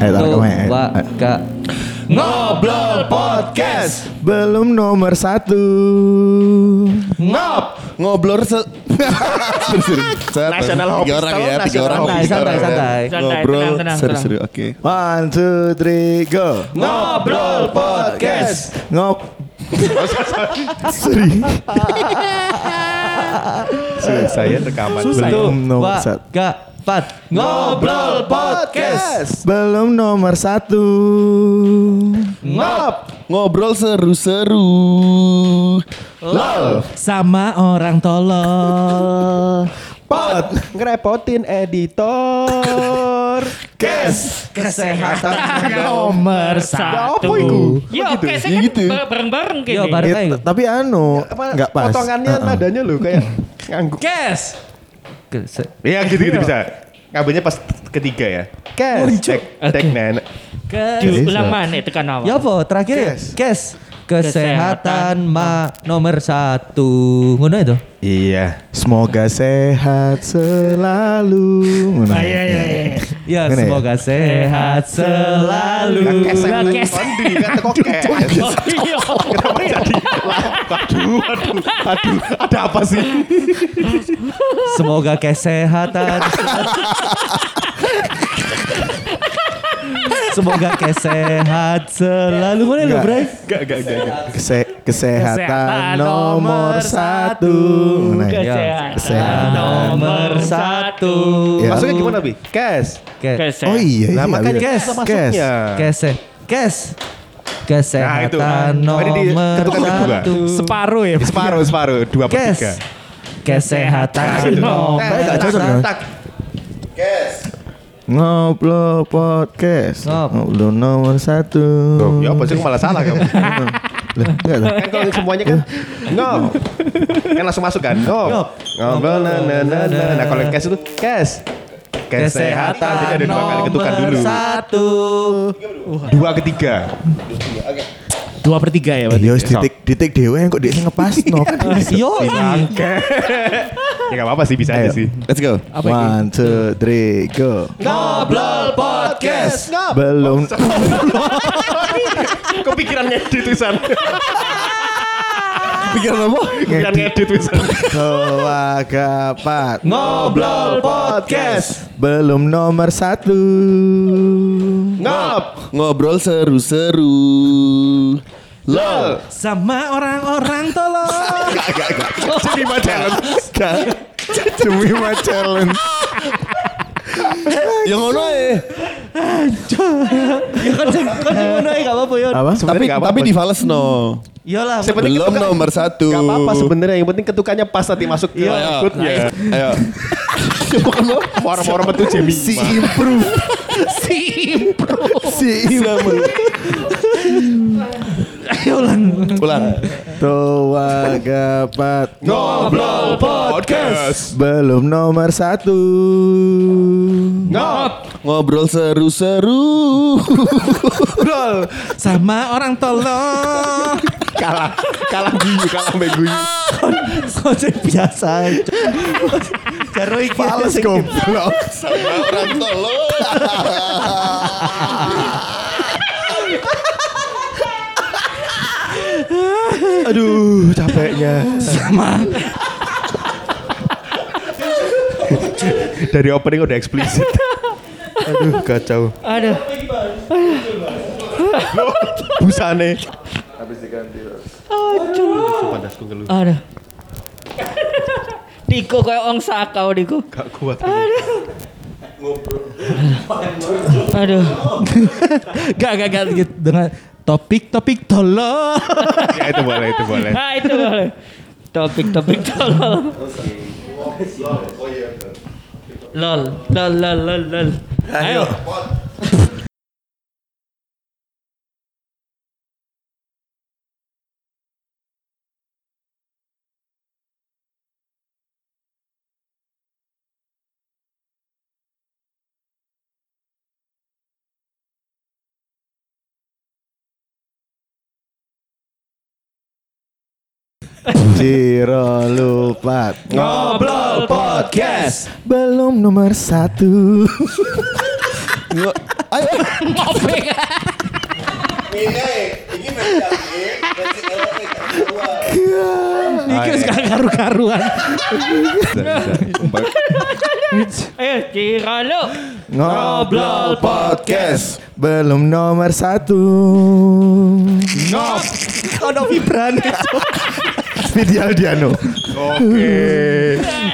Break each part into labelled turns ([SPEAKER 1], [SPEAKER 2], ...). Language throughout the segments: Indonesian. [SPEAKER 1] Ayo taruh
[SPEAKER 2] Tuh,
[SPEAKER 1] kamu ya.
[SPEAKER 2] Mbak,
[SPEAKER 1] Ayo.
[SPEAKER 2] Kak.
[SPEAKER 3] Ngobrol Podcast
[SPEAKER 1] Belum nomor satu.
[SPEAKER 3] Ngop
[SPEAKER 4] Ngoblor se Seru, seru. Satu.
[SPEAKER 3] National
[SPEAKER 4] Tiga
[SPEAKER 3] Hopis
[SPEAKER 4] orang
[SPEAKER 3] Town,
[SPEAKER 4] ya, tiga
[SPEAKER 3] National
[SPEAKER 4] orang.
[SPEAKER 2] Hopis Town.
[SPEAKER 4] tiga orang.
[SPEAKER 2] Santai, santai,
[SPEAKER 5] santai.
[SPEAKER 4] Ngobrol
[SPEAKER 5] Tenang, tenang,
[SPEAKER 4] seru-seru. Oke.
[SPEAKER 1] One, two, three, go.
[SPEAKER 3] Ngobrol Podcast
[SPEAKER 1] Ngop. Sorry.
[SPEAKER 3] Saya rekaman
[SPEAKER 2] Tuh,
[SPEAKER 1] Belum nomor
[SPEAKER 2] ya. Mbak,
[SPEAKER 1] satu.
[SPEAKER 2] Kak, Pat.
[SPEAKER 3] Ngobrol Podcast
[SPEAKER 1] Belum nomor satu.
[SPEAKER 3] Ngop
[SPEAKER 4] Ngobrol seru-seru.
[SPEAKER 3] Lol
[SPEAKER 2] Sama orang tolol.
[SPEAKER 3] Pod
[SPEAKER 6] ngerepotin editor.
[SPEAKER 3] Kes
[SPEAKER 6] Kesehatan.
[SPEAKER 2] Nomor
[SPEAKER 6] apa itu?
[SPEAKER 5] Ya oke, saya
[SPEAKER 4] Ya
[SPEAKER 5] kan
[SPEAKER 4] gitu.
[SPEAKER 5] ba- bareng-bareng
[SPEAKER 2] Yo,
[SPEAKER 5] kayaknya.
[SPEAKER 2] bareng
[SPEAKER 1] Eh,
[SPEAKER 2] aja.
[SPEAKER 1] tapi anu
[SPEAKER 3] Iya,
[SPEAKER 1] nggak pas.
[SPEAKER 6] Potongannya
[SPEAKER 1] Uh-uh.
[SPEAKER 6] nadanya lo kayak ngangguk.
[SPEAKER 5] Kes.
[SPEAKER 2] Kes-
[SPEAKER 3] Ya gitu-gitu bisa Ngambilnya pas ketiga ya
[SPEAKER 6] Kes.
[SPEAKER 3] Cek Cek nenek
[SPEAKER 5] Eh,
[SPEAKER 2] Kes.
[SPEAKER 5] Diulang mana tekan awal.
[SPEAKER 2] Ya apa terakhir ya? Kes. Kesehatan
[SPEAKER 5] Kesehatan
[SPEAKER 2] ma nomor satu. Ngono ya, itu.
[SPEAKER 3] Iya
[SPEAKER 1] Semoga sehat selalu.
[SPEAKER 3] Ah,
[SPEAKER 1] Nah,
[SPEAKER 5] iya, iya, iya.
[SPEAKER 2] Ya
[SPEAKER 1] Ngene ya?
[SPEAKER 2] semoga sehat selalu.
[SPEAKER 3] Kes
[SPEAKER 5] Lah, kes.
[SPEAKER 3] Kondi kan teko kes
[SPEAKER 5] Oh, iya.
[SPEAKER 3] Aduh Aduh Aduh Ada apa sih
[SPEAKER 2] Semoga kesehatan. Semoga kesehat selalu. Mana lu, Bray?
[SPEAKER 3] Gak gak gak gak.
[SPEAKER 1] Kese- kesehatan,
[SPEAKER 5] Kesehatan
[SPEAKER 1] nomor
[SPEAKER 5] nomor
[SPEAKER 1] satu.
[SPEAKER 2] satu.
[SPEAKER 1] Nah, ya.
[SPEAKER 5] Kesehatan
[SPEAKER 1] Kesehatan.
[SPEAKER 5] nomor satu.
[SPEAKER 2] Iya.
[SPEAKER 1] Ya.
[SPEAKER 3] Maksudnya gimana Bi? Kes
[SPEAKER 2] Kes.
[SPEAKER 5] Kesehatan.
[SPEAKER 1] Oh iya, iya.
[SPEAKER 3] Nah makanya
[SPEAKER 1] iya.
[SPEAKER 3] kes masuknya
[SPEAKER 2] Kese. Kes.
[SPEAKER 3] itu.
[SPEAKER 2] Kesehatan
[SPEAKER 3] Nah, ini di-
[SPEAKER 2] nomor
[SPEAKER 3] ketukan kedua.
[SPEAKER 2] satu.
[SPEAKER 5] Separuh ya.
[SPEAKER 3] Separuh separuh Dua per
[SPEAKER 2] Kes.
[SPEAKER 3] tiga
[SPEAKER 2] Kesehatan
[SPEAKER 3] Gitu.
[SPEAKER 2] nomor
[SPEAKER 1] Saya nggak cocok,
[SPEAKER 2] satu.
[SPEAKER 1] kan? Ngobrol podcast.
[SPEAKER 2] Ngop.
[SPEAKER 1] Ngobrol nomor satu.
[SPEAKER 3] Tuh, Ya apa sih kok malah salah kamu
[SPEAKER 1] Lah, enggak lah.
[SPEAKER 3] kan kalau semuanya kan ngop kan langsung masuk kan
[SPEAKER 2] Ngop.
[SPEAKER 3] ngop ngobrol na na na na nah kalau yang cash itu cash kesehatan jadi ada dua kali ketukan dulu
[SPEAKER 2] satu.
[SPEAKER 3] dua ketiga
[SPEAKER 5] Dua per tiga ya
[SPEAKER 1] Eh, yo,
[SPEAKER 3] Iya,
[SPEAKER 1] ditik ditik dewe kok dia ngepas no kan.
[SPEAKER 2] Yo,
[SPEAKER 3] ya nggak apa-apa sih bisa aja sih
[SPEAKER 4] Let's go.
[SPEAKER 1] One, two, three, go.
[SPEAKER 3] ngobrol podcast
[SPEAKER 1] Belum
[SPEAKER 3] kepikiran ngedit tulisan
[SPEAKER 4] Pikiran apa?
[SPEAKER 3] kepikiran ngedit tulisan
[SPEAKER 1] Keluarga Pat
[SPEAKER 3] ngobrol podcast
[SPEAKER 1] Belum nomor satu
[SPEAKER 3] ngop
[SPEAKER 4] Ngobrol seru-seru.
[SPEAKER 3] lol
[SPEAKER 2] sama orang-orang tolong.
[SPEAKER 3] jadi macam
[SPEAKER 1] Kan? Demi my challenge
[SPEAKER 4] Yang ngono ae.
[SPEAKER 2] Ya kan sing kan sing ngono ae gak apa-apa yo.
[SPEAKER 1] Apa?
[SPEAKER 4] Tapi
[SPEAKER 3] nggak apa-apa.
[SPEAKER 4] tapi di Fales no.
[SPEAKER 2] Iyalah.
[SPEAKER 3] Siapa- penting
[SPEAKER 4] Belum
[SPEAKER 3] ketukan.
[SPEAKER 4] nomor satu.
[SPEAKER 3] Gak apa-apa sebenarnya yang penting ketukannya pas nanti masuk ke berikutnya.
[SPEAKER 4] Ayo.
[SPEAKER 3] Orang-orang itu Iya. Jimmy.
[SPEAKER 1] Si improve Si improve Si
[SPEAKER 4] Ulang.
[SPEAKER 1] improve Keluarga Pat
[SPEAKER 3] Ngobrol podcast.
[SPEAKER 1] Belum nomor satu
[SPEAKER 3] Ngop.
[SPEAKER 4] Ngobrol seru-seru.
[SPEAKER 2] sama orang tolong.
[SPEAKER 3] Kalah, kalah guyu, kalah mbak guyu.
[SPEAKER 2] Kok sing biasa. aja. Jaro iki.
[SPEAKER 1] Fales goblok
[SPEAKER 4] Orang tolong.
[SPEAKER 1] Aduh capeknya
[SPEAKER 3] Dari opening udah eksplisit.
[SPEAKER 1] Aduh kacau
[SPEAKER 5] Aduh.
[SPEAKER 3] Busane.
[SPEAKER 5] Aduh. Diko kayak orang sakau Diko.
[SPEAKER 3] Gak kuat.
[SPEAKER 5] Aduh. Gak gak gak.
[SPEAKER 2] Gitu, Dengan topik-topik tolong.
[SPEAKER 3] Ya itu boleh, itu boleh.
[SPEAKER 5] Nah itu boleh. Topik-topik tolol. Lol, lol, lol, lol, lol. Ayo.
[SPEAKER 1] Ciro lupa
[SPEAKER 3] Ngobrol podcast.
[SPEAKER 1] Belum nomor satu
[SPEAKER 4] Ngo- Ayo.
[SPEAKER 5] Topeng.
[SPEAKER 2] Iki wis gak karu-karuan.
[SPEAKER 5] Ayo, Eh, Ciralo.
[SPEAKER 1] Ngobrol
[SPEAKER 4] Podcast.
[SPEAKER 1] Belum nomor satu
[SPEAKER 2] Ngop. Ono vibran.
[SPEAKER 1] Video Diano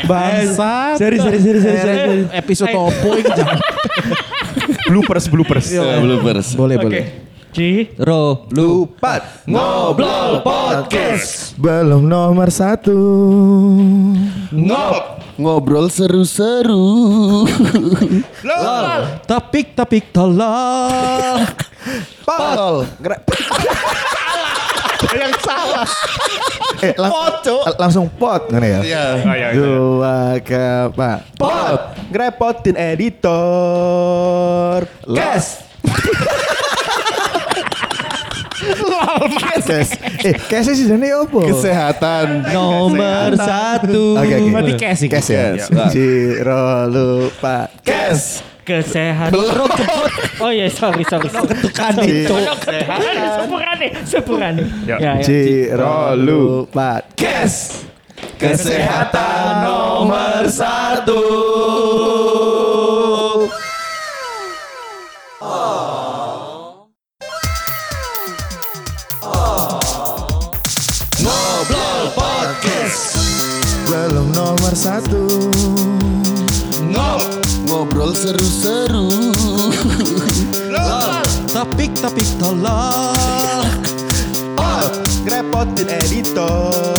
[SPEAKER 2] Bangsa. Seri seri seri seri seri. Eh, Episode opo iki jam.
[SPEAKER 3] bloopers bloopers.
[SPEAKER 4] Eh, Bloopers.
[SPEAKER 2] Boleh
[SPEAKER 5] Oke. Ci.
[SPEAKER 2] Ro lu
[SPEAKER 6] Empat.
[SPEAKER 2] ngobrol podcast.
[SPEAKER 1] Belum nomor satu
[SPEAKER 2] Ngop.
[SPEAKER 4] Ngobrol seru-seru.
[SPEAKER 2] Topik topik tolol.
[SPEAKER 4] Tol.
[SPEAKER 1] Eh, lang- eh, langsung pot ngene ya.
[SPEAKER 3] Oh,
[SPEAKER 4] Iya.
[SPEAKER 1] Dua kepak.
[SPEAKER 6] Pot. Ngerepotin editor.
[SPEAKER 1] Kes. Kes. Eh, kes sih jane opo?
[SPEAKER 4] Kesehatan.
[SPEAKER 2] Nomor satu.
[SPEAKER 1] Oke, oke.
[SPEAKER 2] Berarti kayak
[SPEAKER 1] kes ya.
[SPEAKER 4] Kes, Pak.
[SPEAKER 1] Ciro lupa.
[SPEAKER 4] Kes.
[SPEAKER 5] Kesehatan. Oh iya, sorry, sorry.
[SPEAKER 2] ketukan itu.
[SPEAKER 5] Cocok. Sepurane, sepurane.
[SPEAKER 3] Ya.
[SPEAKER 5] Ya, ya.
[SPEAKER 1] Ciro lupa.
[SPEAKER 2] Kes.
[SPEAKER 4] Kesehatan
[SPEAKER 2] nomor
[SPEAKER 4] satu. Ngobrol podcast.
[SPEAKER 1] Belum nomor satu.
[SPEAKER 4] Ngob. Ngobrol seru-seru.
[SPEAKER 2] Topik topik tolol.
[SPEAKER 6] Ngerepotin editor.